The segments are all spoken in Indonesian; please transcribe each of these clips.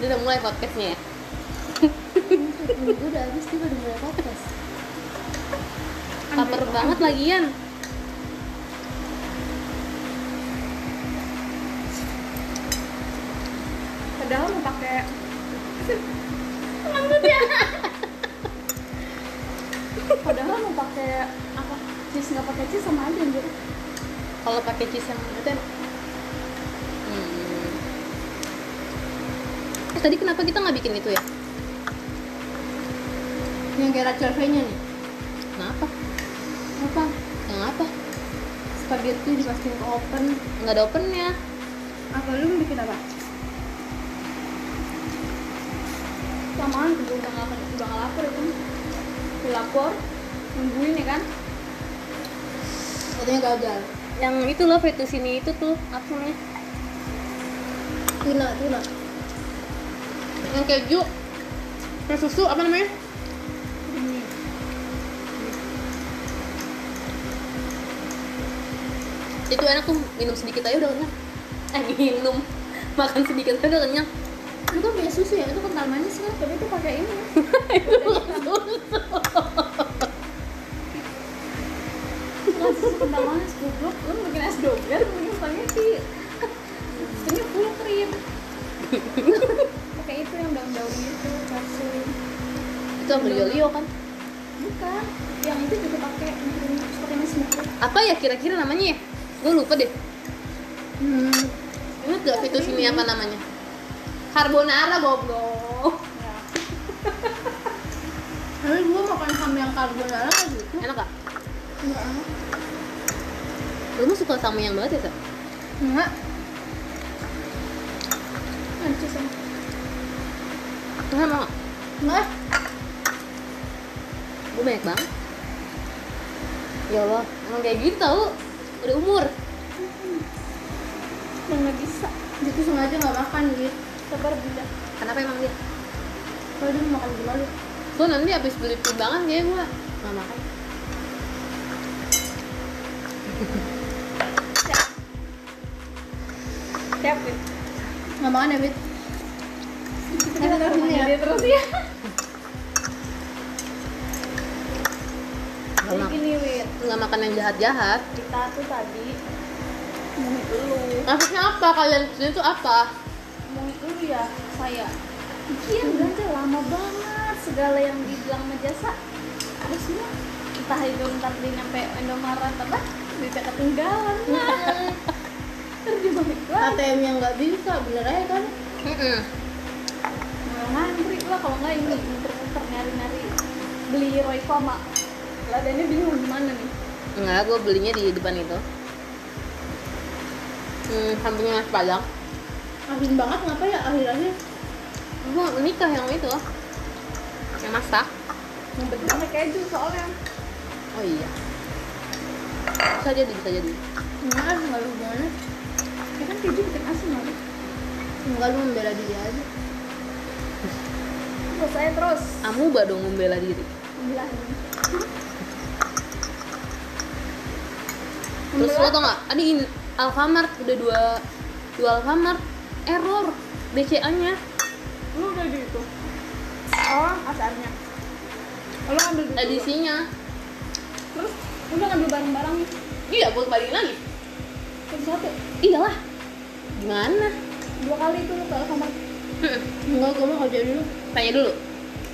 udah mulai podcastnya ya? Minggu udah habis dia baru mulai podcast Laper banget lagian Padahal mau pakai Padahal mau pakai apa? Cheese nggak pakai cheese sama aja anjir. Kalau pakai cheese yang itu enak hmm. Eh tadi kenapa kita nggak bikin itu ya? yang kayak Rachel V nya nih Kenapa? apa Yang apa? spaghetti dimasukin ke open Nggak ada opennya Apa lu bikin apa? Samaan gue udah nggak udah nggak lapar itu. Udah lapar, nungguin ya kan? katanya gagal Yang itu loh fettuccine itu tuh Apa namanya? tuna tuna Yang keju Yang susu apa namanya? Itu enak tuh minum sedikit aja udah kenyang Eh minum Makan sedikit aja udah kenyang itu kan punya susu ya itu kental manis kan tapi itu pakai ini Terus kental manis goblok, lu bikin es doger, lu bikin spaghetti. Ini full cream. pakai itu yang daun-daun gitu, itu, kasih. Itu ambil yolio kan? Bukan, yang itu juga pakai ini pakai ini semua. Apa ya kira-kira namanya ya? Gue lupa deh hmm Ingat gak fettuccine apa namanya? Carbonara goblok tapi gua makan sama yang carbonara kan gitu Enak gak? enggak enak. Lu mah suka sama yang banget ya, Sa? enggak Nanti sama. Enggak mau enggak Gue banyak banget Ya Allah, emang kayak gitu tau Udah umur Dan nggak bisa. dia tuh sengaja nggak makan gitu Sabar bunda. Kenapa emang dia? kalau dia mau makan gimana Gue nanti habis beli timbangan kayak gue Gak makan Siap. Siap ya. nggak makan ya Bit Kita Kita terus terusin ya. ya. Terus ya. Gak Jadi makan gini Wit, Gak makan yang jahat-jahat kita tuh tadi mungkin dulu Maksudnya apa? Kalian kesini tuh apa? Ngomongin dulu ya saya Iya belanja lama banget Segala yang dibilang majasa Ada semua Entah itu ntar beli sampai Indomaret apa Bisa ketinggalan lah Ntar dibalik lagi ATM yang nggak bisa bener aja kan Mm-mm. Mulai ngantri lah kalau nggak ini Muter-muter nyari-nyari Beli Royco sama Ladannya bingung gimana nih Enggak, gue belinya di depan itu Hmm, sampingnya Mas Padang asin banget ngapa ya akhir-akhir Gue nikah yang itu Yang masak Ngumpet banget keju soalnya Oh iya Bisa jadi, bisa jadi enggak nggak ada hubungannya Ya kan keju bikin asin lagi enggak lu membela diri aja Terus saya terus Amuba dong membela diri Bilang Terus lo tau gak? Ada in Alfamart udah dua dua Alfamart error BCA-nya. lu udah di itu oh asarnya lu ambil dulu Edisinya. terus udah ngambil barang-barang Iya, gue kembaliin lagi. terus satu Iyalah. Gimana? dua kali itu lu ke kamar Hmm, enggak gua mau kerja dulu Tanya dulu.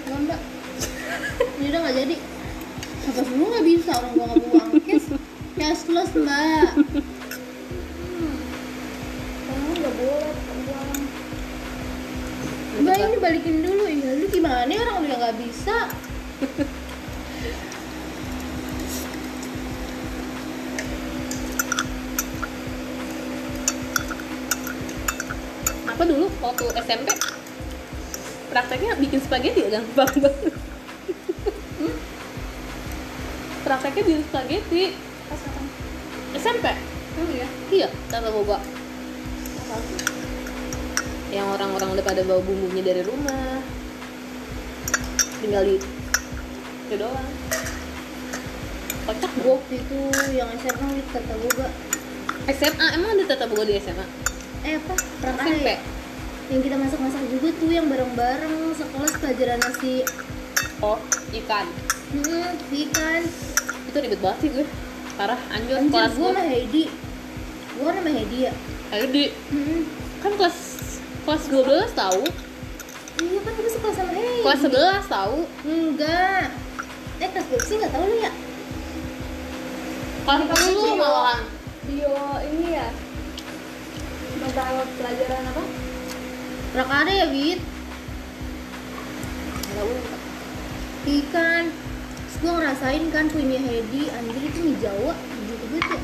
enggak enggak ini udah nggak jadi apa semua nggak bisa orang gua nggak buang kes cash plus mbak kamu nggak boleh uang mbak ini balikin dulu ya lu gimana orang udah nggak bisa Apa dulu waktu SMP? Prakteknya bikin spaghetti ya gampang banget. Hmm. Prakteknya bikin spaghetti pas kapan SMP. dulu ya Iya, sama boba. apa sih Yang orang-orang udah pada bawa bumbunya dari rumah. Tinggal di itu doang. Kocak Gua gue waktu itu yang SMA itu kata gua Mbak, SMA emang ada tata boga di SMA? eh apa perang SMP. air yang kita masak-masak juga tuh yang bareng-bareng sekelas pelajaran nasi oh ikan hmm, ikan itu ribet banget sih gue parah anjir anjir kelas gue gue sama Heidi gue sama Heidi ya ayo di hmm. kan kelas kelas 12 tahu iya kan kita sekelas sama Heidi kelas 11 tahu enggak eh kelas berapa sih nggak tahu lu ya kelas Ini pasti 10 bio. malahan bio ini ya mata pelajaran apa prakarya ya Wit ikan kan. terus gue ngerasain kan punya Heidi anjir itu mie Jawa gitu gitu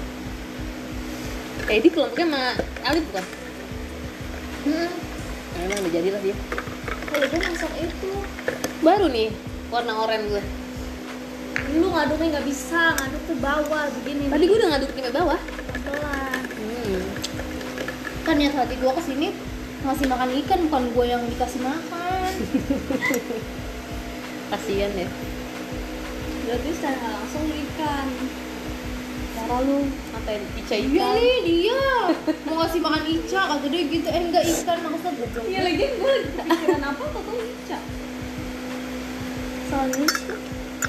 kayak Eh, di kelompoknya sama Alif bukan hmm. Nah, emang udah jadi lah dia kalau gue masak itu baru nih warna oranye gue lu ngaduknya nggak bisa ngaduk tuh bawah begini tadi gue udah ngaduk di bawah pelan hmm. kan niat hati gue kesini ngasih makan ikan bukan gue yang dikasih makan kasian ya berarti secara nggak langsung lu ikan cara lu ngatain Ica iya ikan nih dia mau ngasih makan Ica kata dia gitu eh enggak ikan maksudnya goblok iya lagi gue pikiran apa atau tuh Ica soalnya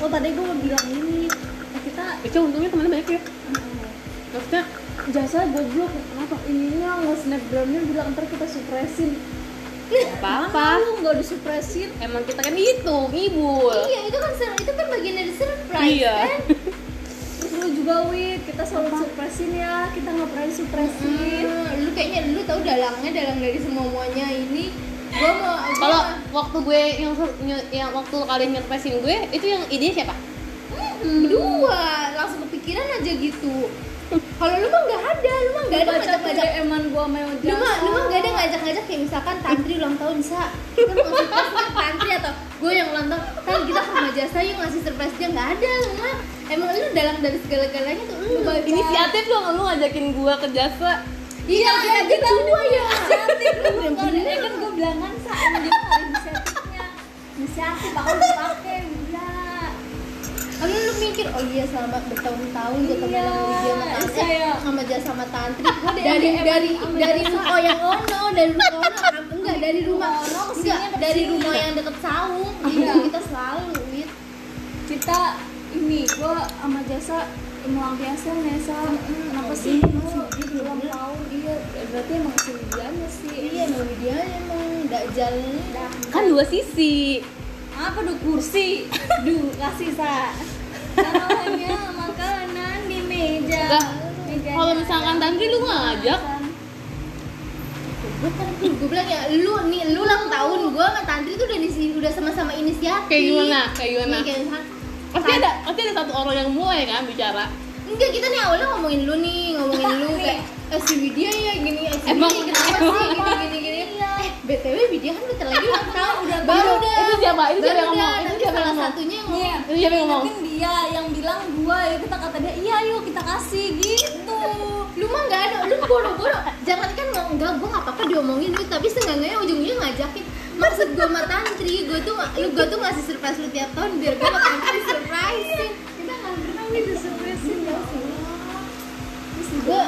oh tadi gue mau bilang ini eh, kita Ica untungnya temennya banyak ya eh, maksudnya jasa goblok kenapa ininya nggak snapgramnya bilang ntar kita supresin apa-apa. lu nggak disupresin emang kita kan itu ngibul iya itu kan ser- itu kan bagian dari surprise kan? iya terus lu juga wit kita selalu supresin ya kita nggak pernah disupresin Hmm, lu kayaknya lu tahu dalangnya dalang dari semua muanya ini gue mau gua kalau mau- waktu gue yang yang- yang waktu kalian nyerpesin gue itu yang ide siapa Hmm, berdua langsung kepikiran aja gitu kalau lu mah nggak ada lu mah nggak ada baca ngajak ngajak eman gua sama yang lu mah jasa lu mah nggak ada ngajak ngajak kayak misalkan tantri ulang tahun sa kita mau surprise kan tantri atau gue yang ulang tahun kan kita ke rumah jasa yuk ngasih surprise dia nggak ada lu mah emang lu dalang dari segala galanya tuh lu Baca. inisiatif dong lu ngajakin gue ke jasa iya kita kita dua Iya, ya Kalau dia kan gue bilang kan sa emang dia nggak ada inisiatifnya inisiatif aku udah pakai udah Lalu lu mikir, oh iya selama bertahun-tahun gue temenan sama dia sama Iya, tantri, saya. sama jasa sama tantri. Gua dari DM dari sama Iya, dari, jasa. ruko yang ono, dari ruko ono, am- enggak dari rumah Ono, kesini, enggak kesini. dari rumah yang deket saung. Iya. Iya, kita selalu wit. kita ini gue sama jasa emang biasa Nesa kenapa sih Iya, lu iya, di ulang iya. tahun iya berarti emang kesedihannya sih Iya, emang dia emang enggak jalan. Dah. kan dua sisi apa du kursi du kasih sa taruhannya makanan di meja Lah, Mejanya kalau misalkan ada Tantri lu ngajak? makan. Gue kan gue bilang ya, lu nih lu ulang tahun, gue sama tantri tuh udah di sini udah sama-sama inisiatif. kayak gimana kayak Nih, gimana kayak misalkan, pasti ada pasti ada satu orang yang mulai kan bicara Enggak, kita nih awalnya ngomongin lu nih, ngomongin lu Nih. kayak eh, si Widya ya gini, eh, si Emang- Widya kenapa emang- sih gini gini gini. Eh, BTW Widya kan bentar lagi ulang tahun udah Baru, baru udah. itu siapa? Itu siapa baru yang ngomong? udah. Itu Nanti siapa yang salah ngomong? satunya yang ngomong. Iya, Itu siapa yang ngomong? mungkin dia yang bilang gua ya kita kata dia iya yuk kita kasih gitu. Lu mah enggak ada, lu boro-boro. Jangan kan nggak enggak gua enggak apa-apa diomongin lu, tapi seenggaknya ujungnya ngajakin maksud gua sama Tantri, gua tuh lu gua tuh ngasih surprise lu tiap tahun biar gua sama Tantri surprise. Kita nggak pernah gitu surprisein ya. Gua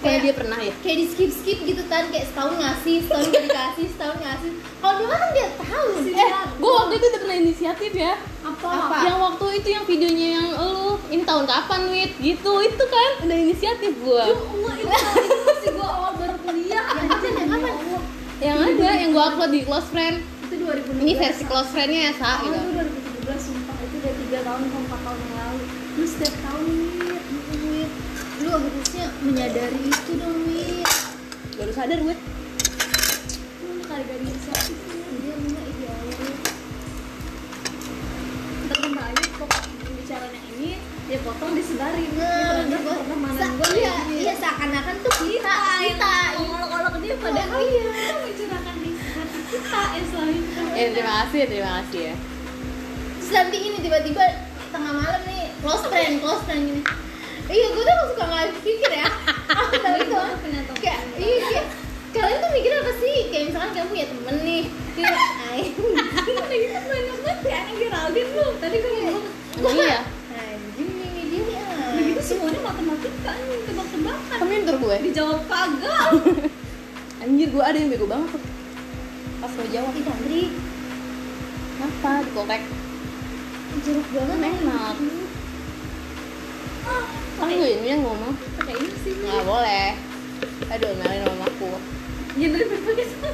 kayak dia pernah ya kayak di skip skip gitu kan kayak setahun ngasih setahun gak dikasih setahun ngasih kalau dulu kan dia tahu eh gue waktu itu udah pernah inisiatif ya Apa? Apa? yang waktu itu yang videonya yang lu ini tahun kapan wit gitu itu kan udah inisiatif gue Enggak itu kali itu masih gua awal baru kuliah. Iya, Yang kapan, yang kapan? yang ada yang gue upload di close friend Itu 2017. ini versi close friendnya ya sa gitu Awal itu 2017 sumpah itu udah 3 tahun atau 4 tahun yang lalu. Lu setiap tahun nih Wit, lu harusnya menyadari itu dong Wit baru sadar gue lu kali gak inisiatif Iya, Mama, iya. Ntar bentar aja kok pembicaraan yang ini dia potong disebarin. Nah, Dia gua- pernah mana sa- gua iya, ini. iya. iya seakan-akan tuh kita, kita. Olok-olok dia padahal Padahal iya. kita mencurahkan di hati kita eh selain kita eh terima kasih terima kasih ya Terus nanti ini tiba-tiba tengah malam nih close friend, close friend gini. Iya, gue tuh suka nggak habis pikir ya. Aku tahu itu. ah. Punya teman. Kayak, iya, kayak, kalian tuh mikir apa sih? Kayak misalkan kamu punya temen nih. Kayak, ay. itu banyak banget ya yang Geraldine lu tadi gue ngomong emang iya Anjing nih dia nih. ah. begitu semuanya matematika nih tebak-tebakan Kamu pinter gue dijawab kagak anjir gue ada yang bego banget pas lo jawab Ih, Tantri, kenapa dikorek jeruk banget Enak. Ah, kan gue ini yang ngomong Pakai ini sih. nggak boleh aduh ngalin sama aku Jangan dari berbagai sana.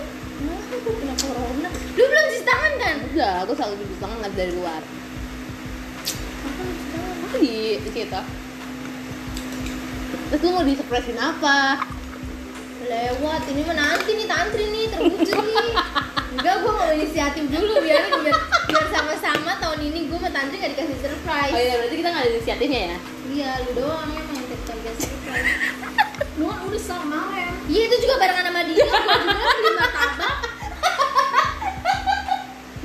Kena corona. Lu belum cuci tangan kan? udah aku selalu cuci tangan nggak dari luar aku di di situ terus gue mau disepresin apa lewat ini mah nanti nih tantri nih terwujud nih enggak gue mau inisiatif dulu biar biar, biar sama-sama tahun ini gue sama tantri gak dikasih surprise oh iya berarti kita nggak ada inisiatifnya ya iya lu doang emang yang tetap kasih surprise Gua kan udah sama kemarin. iya itu juga barengan sama dia gue juga beli martabak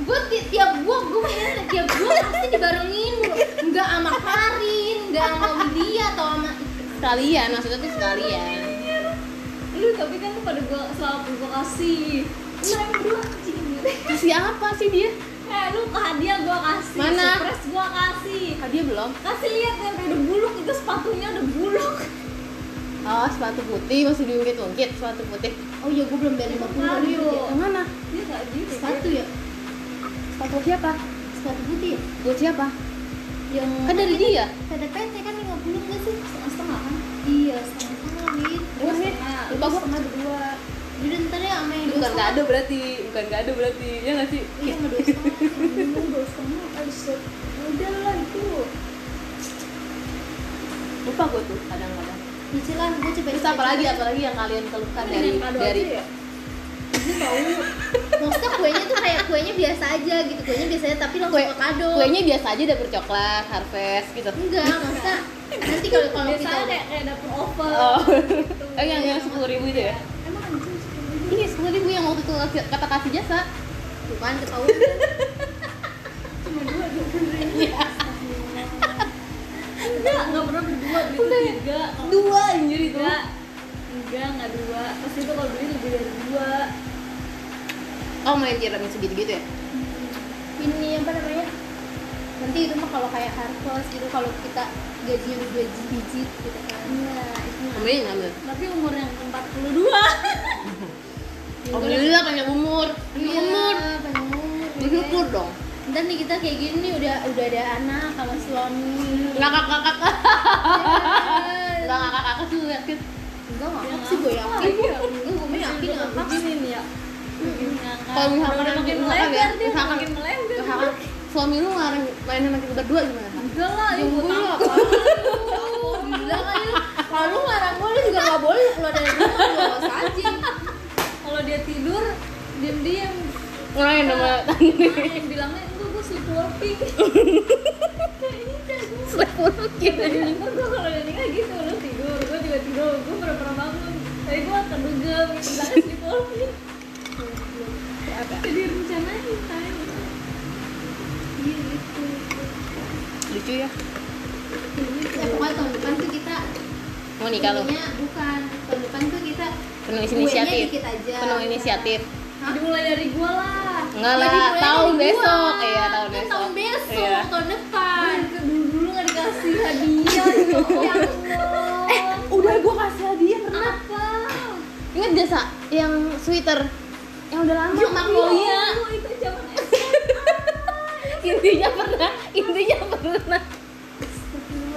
gue tiap gue gue mainnya tiap gue pasti dibarengin mulu enggak sama Karin enggak sama dia atau sama sekalian maksudnya tuh sekalian Lu tapi kan kepada gua selalu gua kasih. Lu yang berdua anjing gitu. kasih apa sih dia Eh, lu hadiah gua kasih. Mana? Surprise gua kasih. hadiah Ah, belum Kasih lihat yang kayak udah buluk itu sepatunya udah buluk. oh sepatu putih masih diungkit-ungkit sepatu putih oh iya gue belum bayar lima puluh yang mana Dia enggak gitu. sepatu ya sepatu siapa sepatu putih ya? buat siapa yang kan dari dia PDPT kan 50 gak sih? setengah kan? Iya, setengah Win. Bukan sih? Lupa gua. setengah dua. Jadi ntar ya sama yang Itu bukan nggak ada berarti bukan nggak ada berarti ya nggak sih Iya, sama dua setengah. Minum dua setengah harus udah lah itu lupa gue tuh kadang-kadang Nyicil lah, gue cepet terus apalagi apalagi yang kalian keluhkan dari Mendingan kado dari aja ya? Ini bau Maksudnya kuenya tuh kayak kuenya biasa aja gitu Kuenya biasanya tapi langsung Kue- ke kado kuenya biasa aja dapur coklat harvest gitu Enggak, maksudnya nanti kalau kalau kita biasanya udah kayak kayak dapur oven oh gitu. Eh, yang yang sepuluh ribu itu ya emang anjing sepuluh iya sepuluh ribu yang waktu itu kasih- kata kasih jasa Bukan ketahuan cuma dua dua puluh ribu enggak enggak pernah berdua beli itu tiga kalau dua anjir enggak enggak enggak dua pasti itu kalau beli lebih dari dua oh main tiramisu gitu gitu ya Ini apa namanya Nanti itu mah kalau kayak harvest gitu Kalau kita gajinya berdua biji gitu kan iya itu ambil ngambil tapi umur yang empat puluh dua alhamdulillah panjang umur Iya, panjang umur bener bersyukur dong Ntar nih kita kayak gini nih udah udah ada anak sama suami nggak kakak kakak Enggak nggak kakak kakak sih lu yakin Enggak ngakak sih gue ya. yakin Iya. Enggak gue yakin ngakak begini nih ya Begini ngangkat. Kalau misalkan Udah emang makin gitu, melebar ya, dia, misalkan- makin melebar kakak suami lu ngarang main sama kita berdua gimana Kak? enggak lah ya Gue gua apa Gila kali lu Kalau lu ngarang gue lu juga gak boleh keluar dari rumah Lu awas aja kalau dia tidur diam-diam ngerain sama yang bilangnya enggak gue sleepwalking gitu, sleepwalking ya dari gue kalau udah nikah gitu lu tidur gue juga tidur gue pernah-pernah bangun tapi gue akan dugem gitu. bilangnya sleepwalking jadi rencanain kan Iya, gitu. lucu ya Ya pokoknya tahun depan tuh kita mau nikah lu ininya bukan Tahun depan tuh kita penuh kuenya inisiatif dikit aja penuh inisiatif Hah? dimulai dari gue lah enggak Jadi lah kuenya tahun dari gua. besok iya tahun Kan besok Tahun besok, Iya. tahun depan dulu dulu nggak dikasih hadiah ya Allah eh udah gua kasih hadiah pernah apa ingat jasa yang sweater yang udah lama Magnolia magnolia Iya, itu zaman intinya pernah intinya pernah SMA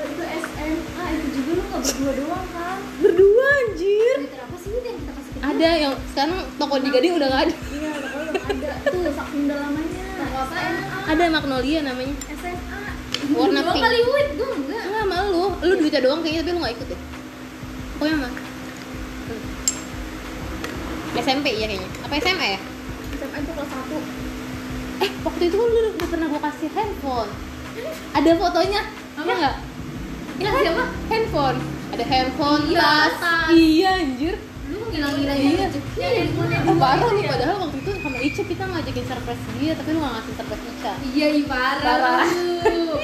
itu SMA itu juga lu nggak berdua doang kan berdua anjir Twitter apa sih ini yang kita kasih ke dia? ada yang sekarang toko di gading udah nggak ada iya kalau ada tuh saking udah lamanya Nggak apa-apa. SMA ada magnolia namanya SMA warna Dua pink kali wait gue enggak enggak sama lu lu duitnya doang kayaknya tapi lu nggak ikut deh pokoknya mah SMP ya kayaknya apa SMA ya SMA itu kelas satu eh waktu itu kan lu udah pernah gua kasih handphone ada fotonya Apa? ya nggak Ya siapa? handphone ada handphone Iya, tas tas. iya anjir Lu ngilang-ngilang aja rezeki Iya, ya, iya, gua. Eh, parah nih padahal waktu itu sama Ica kita ngajakin surprise dia tapi lu nggak ngasih surprise Ica Iya, iya parah. Parah. lu.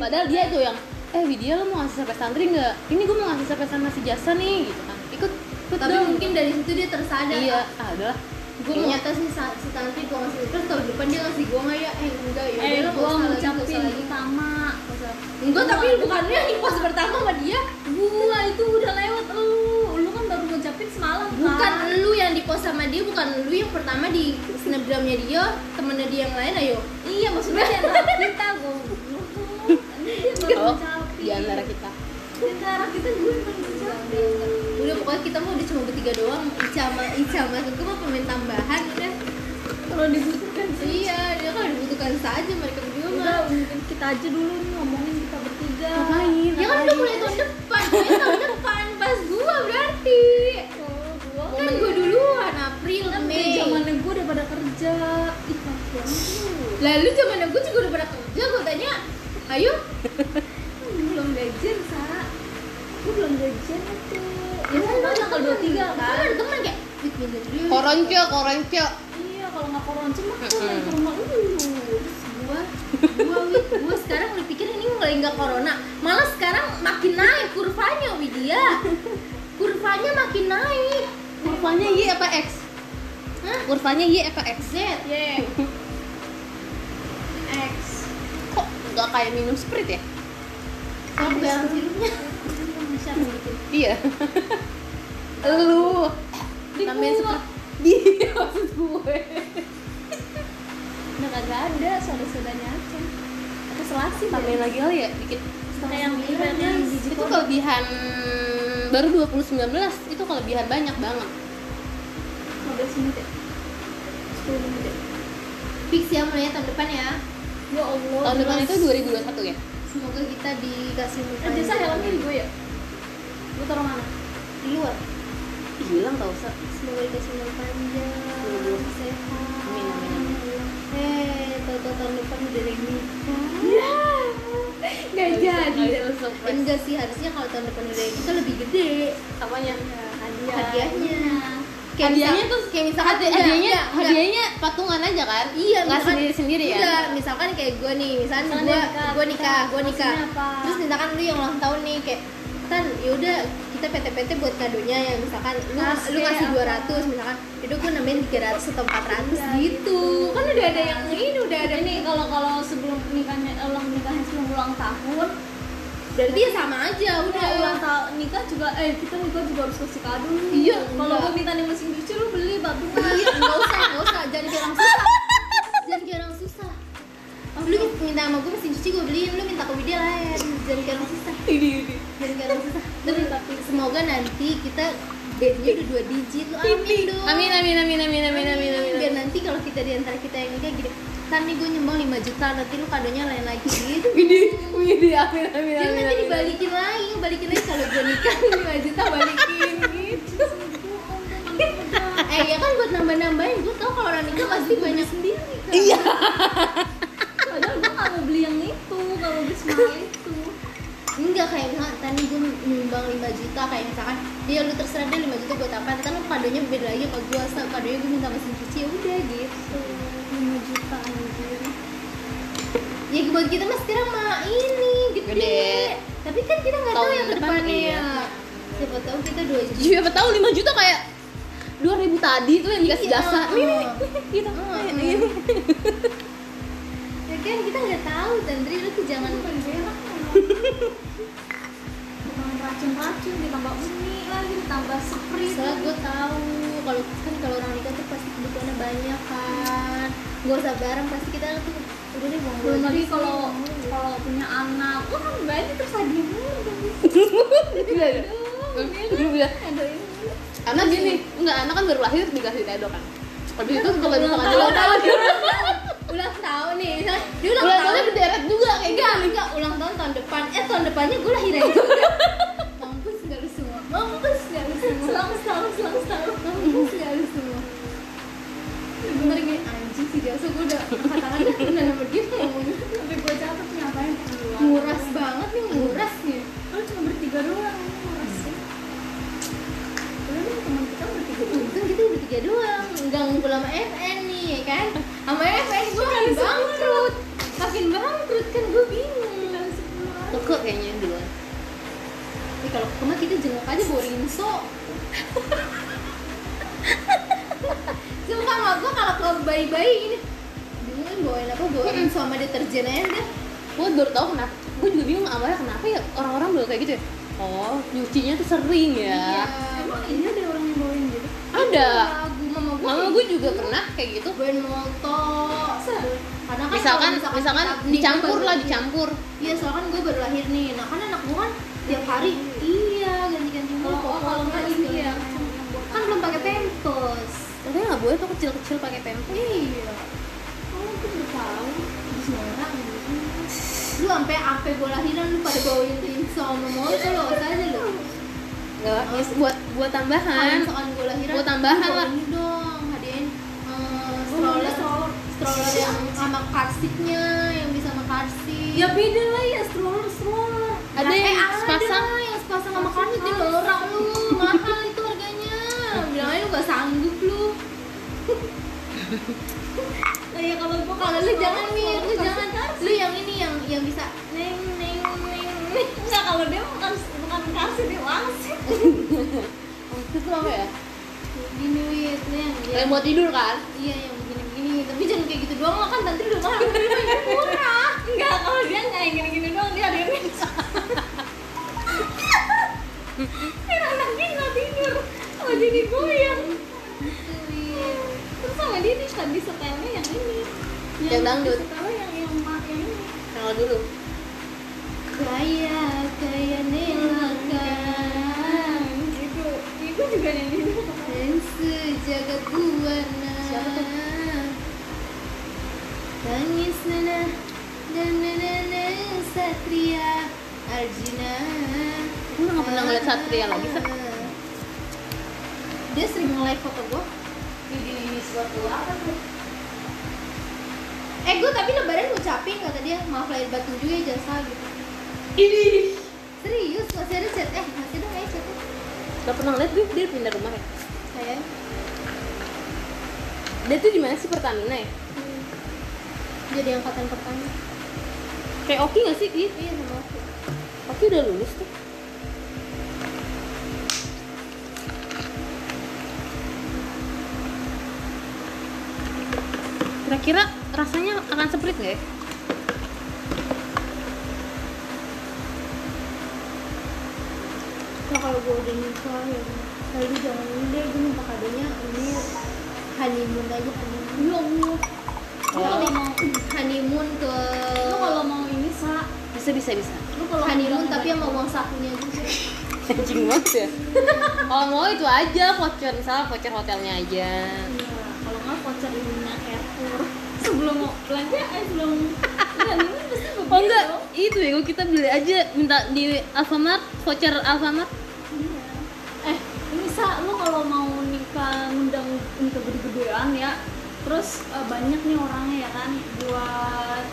padahal dia tuh yang eh Widya lu mau ngasih surprise santri nggak ini gua mau ngasih surprise sama si Jasa nih gitu kan ikut ikut Tapi dong mungkin dari situ dia tersadar. iya ah adalah Gue mau atas si, Sa- si Tanti gue ngasih surprise tahun depan dia ngasih gue nggak ya? Eh enggak ya. eh udah, gua nggak usah lagi, nggak usah ngucapin lagi. pertama Nggak usah. Enggak, tapi Gua- bukannya di pos pertama sama dia gua itu udah lewat lu lu kan baru ngucapin semalam Bukan kan Ah. lu yang di pos sama dia, bukan Instagramnya dia temennya dia yang lain ayo Iya maksudnya di antara kita goblok. Ini dia baru Oh, mencapai. di antara kita Di antara kita gue baru mencapai. udah pokoknya kita mau udah cuma bertiga doang Ica sama Ica sama Suku mah pemain tambahan udah Kalau dibutuhkan sih. iya dia kan dibutuhkan saja mereka Iya. berdua mah Udah mungkin kita aja dulu nih ngomongin kita bertiga. Oh, Ngapain? dia kan udah mulai tahun depan mulai tahun depan pas gua berarti Oh, gua kan gua duluan April kan udah Mei zamannya gue udah pada kerja. Ih, kasihan lu. lalu zaman gua juga udah pada kerja gua tanya ayo Kan belum gajian, Sa. Gue belum gajian itu. Ya, Iya, kan tanggal 23 kan kan? ada teman kayak "Wih, pindah dulu koronco koronco Iya, kalau nggak koron cuma aku Mm-mm. main ke rumah Uh, lu. Terus gua gua Wid, gua sekarang udah pikir ini mulai nggak corona malah sekarang makin naik kurvanya Widya kurvanya makin naik kurvanya y apa x Hah? kurvanya y apa x Z Yeah. X. kok nggak kayak minum sprite ya kamu yang sirupnya Siapa yang bikin? iya lu Di namanya gua. sprite dia maksud gue Udah kagak ada, soda-sodanya aja Atau selasi tambahin lagi kali ya dikit Kayak yang di Iya, yang di itu kelebihan baru 2019 itu kelebihan banyak banget 15 menit ya 10 menit ya fix ya mulai tahun depan ya Ya Allah tahun depan Mas. itu 2021 ya semoga kita dikasih muka Aja saya helmnya di gue ya Gue taruh mana? di luar Ih, hilang tau usah semoga dikasih umur panjang Iya. sehat Amin, amin, eh tau-tau tahun depan udah ada yang nikah Iya Gak jadi enggak sih harusnya kalau tahun depan udah ada yang nikah lebih gede apanya Ya. Hadiah hadiahnya Kayak hadiahnya misal- tuh kayak misalkan Hadiah- hadiahnya enggak, enggak. hadiahnya patungan aja kan Iya, nggak misalkan- sendiri sendiri ya Enggak, misalkan kayak gue nih, misalkan Misalkan gue dia nikah, gue nikah, kita gue nikah. maksudnya apa? Terus misalkan lu yang ulang tahun nih kayak kan yaudah kita PT-PT buat kadonya ya misalkan lu Tas lu kayak ngasih apa? 200 misalkan itu gue nambahin 300 atau 400 Iya, gitu. Kan udah ada yang ini udah ada Ini kalau kalau sebelum nikahnya ulang nikahnya sebelum ulang tahun Berarti ya sama aja udah. udah Iya, ulang tahun nikah juga eh kita nikah juga harus kasih kado nih. Iya, kalau enggak. gue minta nih mesin cuci lu beli batungan Iya, enggak usah, enggak usah, jangan kayak orang susah. kan? Jangan kayak orang susah. Lu minta sama gue mesin cuci gue beliin, lu minta ke Widya lain. Jangan kayak orang susah. ini ini Jadi kadang susah. Tapi tapi semoga nanti kita bednya udah dua digit lu amin dong. amin amin amin amin amin amin amin Biar nanti kalau kita di antara kita yang nikah gini, kan nih gue nyumbang 5 juta, nanti lu kadonya lain lagi gitu. ini ini amin amin amin Jadi nanti amin. dibalikin lagi, balikin lagi kalau gue nikah nih 5 juta balikin gitu. eh ya kan buat nambah-nambahin, gue tau kalau orang nikah pasti banyak sendiri kan. Iya. padahal gue gak mau beli yang itu gak mau beli semua itu Enggak kayak misalkan tadi gue nyumbang 5 juta kayak misalkan dia lu terserah deh 5 juta buat apa kan lu kadonya beda lagi sama gue so, kadonya gue minta mesin cuci ya udah gitu Hmm. 5 juta anjir Iya, ya buat kita mas sekarang mah ini gede. Gede. tapi kan kita nggak tahu Tahun yang depan, depannya iya. siapa tahu kita dua juta siapa tahu 5 juta kayak 2000 tadi tuh yang dikasih Iya. jasa ini nih, gitu Hmm. Ini, ini. ya kan kita nggak tahu Tandri lu tuh jangan bukan kan? berak bukan racun-racun ditambah umi lagi ditambah spray Soalnya gue tahu kalau kan kalau orang nikah tuh pasti kebutuhannya banyak kan gak usah bareng pasti kita tuh udah deh mau belum lagi kalau kalau punya anak wah kan banyak terus lagi mulu Gila, ya? Lu bilang, anak gini enggak anak kan baru lahir dikasih tedo kan habis itu kalau misalkan dia ulang tahun ulang tahun nih misalnya dia ulang, ulang tahun tahunnya berderet juga kayak gitu enggak enggak ulang tahun tahun depan eh tahun depannya gue lahiran juga mampus gak lu semua mampus gak lu semua selang selang selang selang mampus gak lu semua bener gini anjing si Jaso gue udah katakannya udah nomor dia ngomongnya tapi gue catat nih apa yang nguras banget nih nguras nih lu cuma bertiga doang ini nguras sih Padahal ini teman kita bertiga doang untung kita udah tiga doang nggak ngumpul sama FN nih ya kan sama FN gue makin bangkrut makin bangkrut kan gue bingung keke kayaknya duluan Nih kalau kemana kita jenguk aja boring so. Sumpah sama gue kalau ke bayi-bayi ini bingung bawain apa bawain so sama deterjen aja Iya. deh. gue baru tau kenapa gue juga bingung awalnya kenapa ya orang-orang baru kayak gitu ya oh nyucinya tuh sering ya Iya. emang iya ada orang yang bawain gitu ada Lagu mama gue mama gue juga pernah kayak gitu Brand molto. Karena kan misalkan kalau misalkan kita- dicampur gua lah baru- dicampur Iya, soalnya kan gue baru lahir nih. Nah, kan anak gue kan tiap hari iya ganti-ganti Oh, mulu. gitu. Kalau- kalau nggak ini ya. Kan belum pakai pampers. katanya nggak boleh tuh kecil-kecil pakai pempek Iya. Oh, aku udah tahu. Terus norak gitu. Lu sampai sampai gue lahiran lu pada bawain tim sama molto lo aja lo. nggak ya, buat buat Kalian tambahan soal gue lahiran. Gua tambahan lu lah. bawain dong, hadiahin eh, Gua mau stroller Oh. stroller. stroller yang sama karsitnya yang bisa sama karsit. Iya, Ya beda lah ya stroller stroller. ada Eh, yang ada sepasang yang sepasang sama kamu itu norak lu mahal itu harganya bilang aja lu gak sanggup lu Nah, ya kalau gua Iya, kalau lu jangan mir lu jangan kasih. lu yang ini yang yang bisa Neng neng neng. neng. Enggak kalau dia bukan bukan kasih dia langsung. itu apa ya gini wit lu yang yang yang buat tidur kan iya yang begini begini tapi jangan kayak gitu doang lah kan nanti udah mahal Murah. Enggak kalau dia nggak yang gini-gini doang dia ada yang ini. Kan anaknya nggak tidur. Kalau jadi goyang. Iya. Iya, Terus sama dia nih tadi setelnya yang ini. Yang dangdut. Setelnya yang yang ma- yang ini. kalau dulu gaya gaya Nah, nelakan itu Ah, gitu. itu juga yang ini. dan sejagat buana Siapa tuh? Tangis nana dan nana satria Arjuna aku udah nggak pernah ngeliat satria lagi Sat. Dia sering nge-like foto gua Jadi suatu apa tuh? Eh gua tapi lebaran ngucapin kata dia Maaf lahir batin juga ya jasa gitu Ini. Serius masih ada chat Eh masih ada kayak chatnya nggak pernah ngeliat gue dia pindah rumah ya Kayak dia tuh di mana sih Pertamina ya hmm, Jadi angkatan pertama kayak Oki nggak sih dia Iya sama aku Oki udah lulus tuh kira-kira rasanya akan seprit nggak ya Nah, kalau gue udah nikah ya lalu jangan ini deh gue minta kadonya ini honeymoon aja honeymoon Ya Allah. Lu kalau mau honeymoon ke Oh. Lu kalau mau ini sa, bisa bisa bisa lu kalau honeymoon udah- tapi sama uang sakunya juga anjing banget ya kalau mau itu aja voucher misalnya voucher hotelnya aja Iya, kalau nggak voucher Luna Airpur sebelum mau belanjaan sebelum dan ini kan pasti begitu oh enggak itu ya kita beli aja minta di Alfamart voucher Alfamart Iya. eh ini sa lu kalau mau nikah ngundang nikah gede-gedean ya terus eh, banyak nih orangnya ya kan buat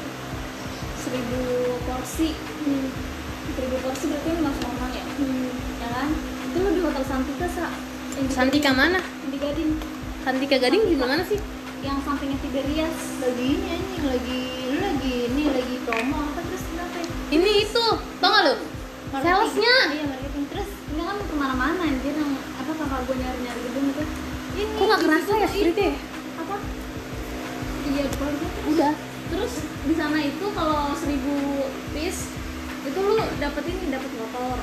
seribu porsi hmm. seribu porsi berarti lima orang ya Hmm. ya kan itu lu di hotel Santika sa yang di- Santika mana di Gading Santika Gading di mana sih yang sampingnya Tiga Rias lagi ini anjing, lagi lu lagi ini lagi promo apa terus kenapa ya? ini itu tau gak lo Marketing. salesnya iya marketing terus Enggak kan kemana-mana anjir yang apa kakak gue nyari-nyari gedung itu ini kok nggak kerasa ya spritnya apa iya gue lupa. udah terus di sana itu kalau seribu piece itu lu dapet ini dapet motor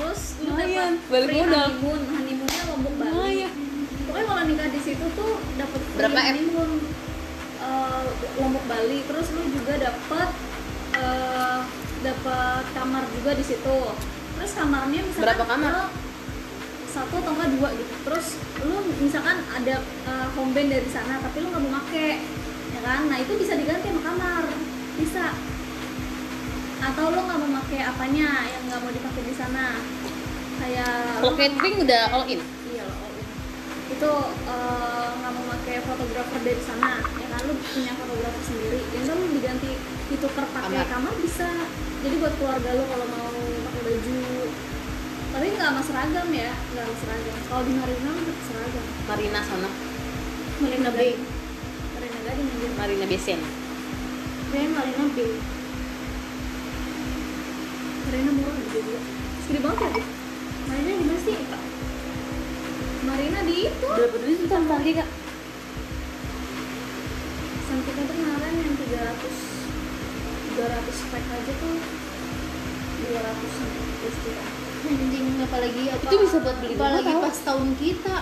terus lu Lumayan, dapet balik free modal. honeymoon honeymoonnya lombok bali Lumayan. pokoknya kalau nikah di situ tuh dapet free Berapa, Em? honeymoon Eh, lombok bali terus lu juga dapet eh, dapet kamar juga di situ terus kamarnya misalkan Berapa kamar? lu satu atau enggak dua gitu terus lu misalkan ada eh, home band dari sana tapi lu nggak mau make ya kan nah itu bisa diganti sama kamar bisa atau lu nggak mau pakai apanya yang nggak mau dipakai di sana kayak kalau lu nggak mau catering udah all in iya lo itu eh, nggak mau pakai fotografer dari sana ya kan lu punya fotografer sendiri yang kan lu diganti ditukar pakai Kamar. kamar bisa jadi buat keluarga lu kalau mau pakai baju tapi nggak sama seragam ya nggak sama seragam kalau di Marina lu pakai seragam Marina sono Marina Bay. Marina Gading anjir. Marina Besen dia Marina B Marina murah gede juga gede banget ya Bu? Marina di mana sih Pak? Marina di itu berapa duit itu Santika Santika tuh kemarin yang 300 300 pack aja tuh 200 sampai 300 juta anjing apalagi apa Itu bisa buat beli rumah, apalagi tau. pas tahun kita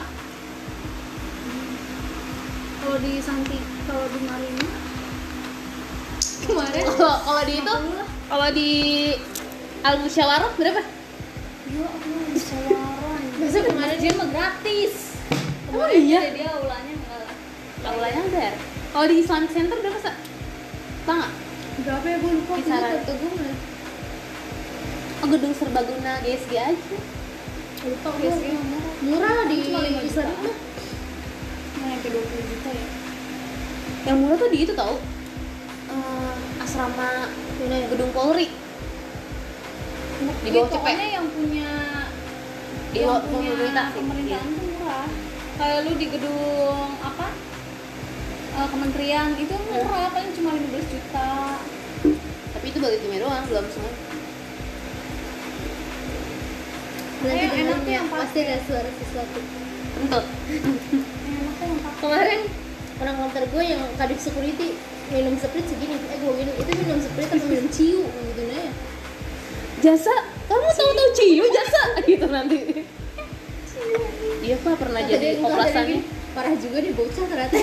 kalau di Santi kalau di Marina kemarin Kalau kalau di itu, Kenapa lah? kalau di al musyawarah berapa? ya Allah siaran besok kemarin dia mah gratis Emang Kemarin iya? juga dia aulanya enggak lah Aulanya bayar. Kalau di Islamic Center berapa sa? Tahu nggak? berapa ya gue lupa Kisaran. aku juga gue ngeliat. Oh, gedung serbaguna GSG aja. lupa gue Biasanya murah murah lah di Cuma lima Islam jutaan. nggak nyampe 20 juta ya Yang murah tuh di itu tau? Eh, asrama gedung Polri. Di Gitu. bawah Iya, cepet. pokoknya yang punya Di yang bawah punya pemerintah sih. Iya. pemerintahan tuh murah kayak lu di gedung apa eh, kementerian itu murah paling cuma 15 juta Tapi itu baru timnya doang, belum semua. Yang berarti enak tuh dengarnya yang Iya, pasti ada suara sesuatu Entah. yang enak tuh yang pakai kemarin orang kantor gue yang kadif security minum sprite segini eh gue minum itu minum sprite atau minum ciu gitu nah ya Jasa, kamu tahu-tahu Ciyu Jasa gitu nanti. Iya pak pernah Kata jadi ya." dia, "Enggak," kata dia oplasannya. gini, parah juga nih bocah ternyata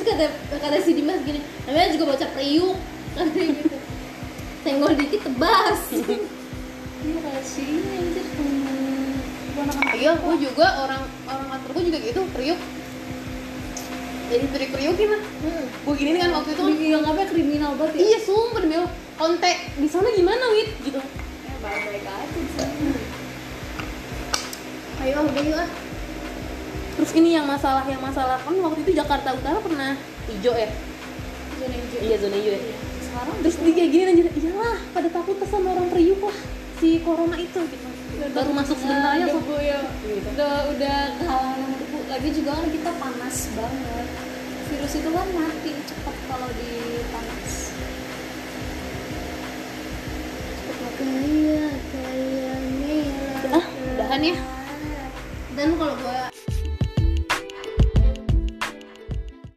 terus kata kata si Dimas gini namanya juga bocah priuk kata dia gitu senggol dikit tebas Iya, kayak sini anjir hmm, gua anak-anak Iya, aku juga orang orang kantor gue juga gitu, kriuk. Jadi kriuk kriukin lah. hmm. Gue gini kan waktu itu kan. yang apa kriminal banget ya Iya, sumpah demi Allah. Kontak di sana gimana, Wit? Gitu. Ya, baik-baik aja di sana. ayo ah, udah yuk ah Terus ini yang masalah yang masalah kan waktu itu Jakarta Utara pernah hijau ya? Zona hijau. Iya, zona hijau ya. sekarang Terus dia kayak gini aja, iyalah pada takut sama orang kriuk lah si corona itu gitu. Baru masuk sebentar aja udah, langsung. bu, ya. Gitu. udah udah kehalangan debu lagi juga kan kita panas banget virus itu kan mati cepat kalau di panas kaya kaya merah Ah, udahan ya. dan kalau gue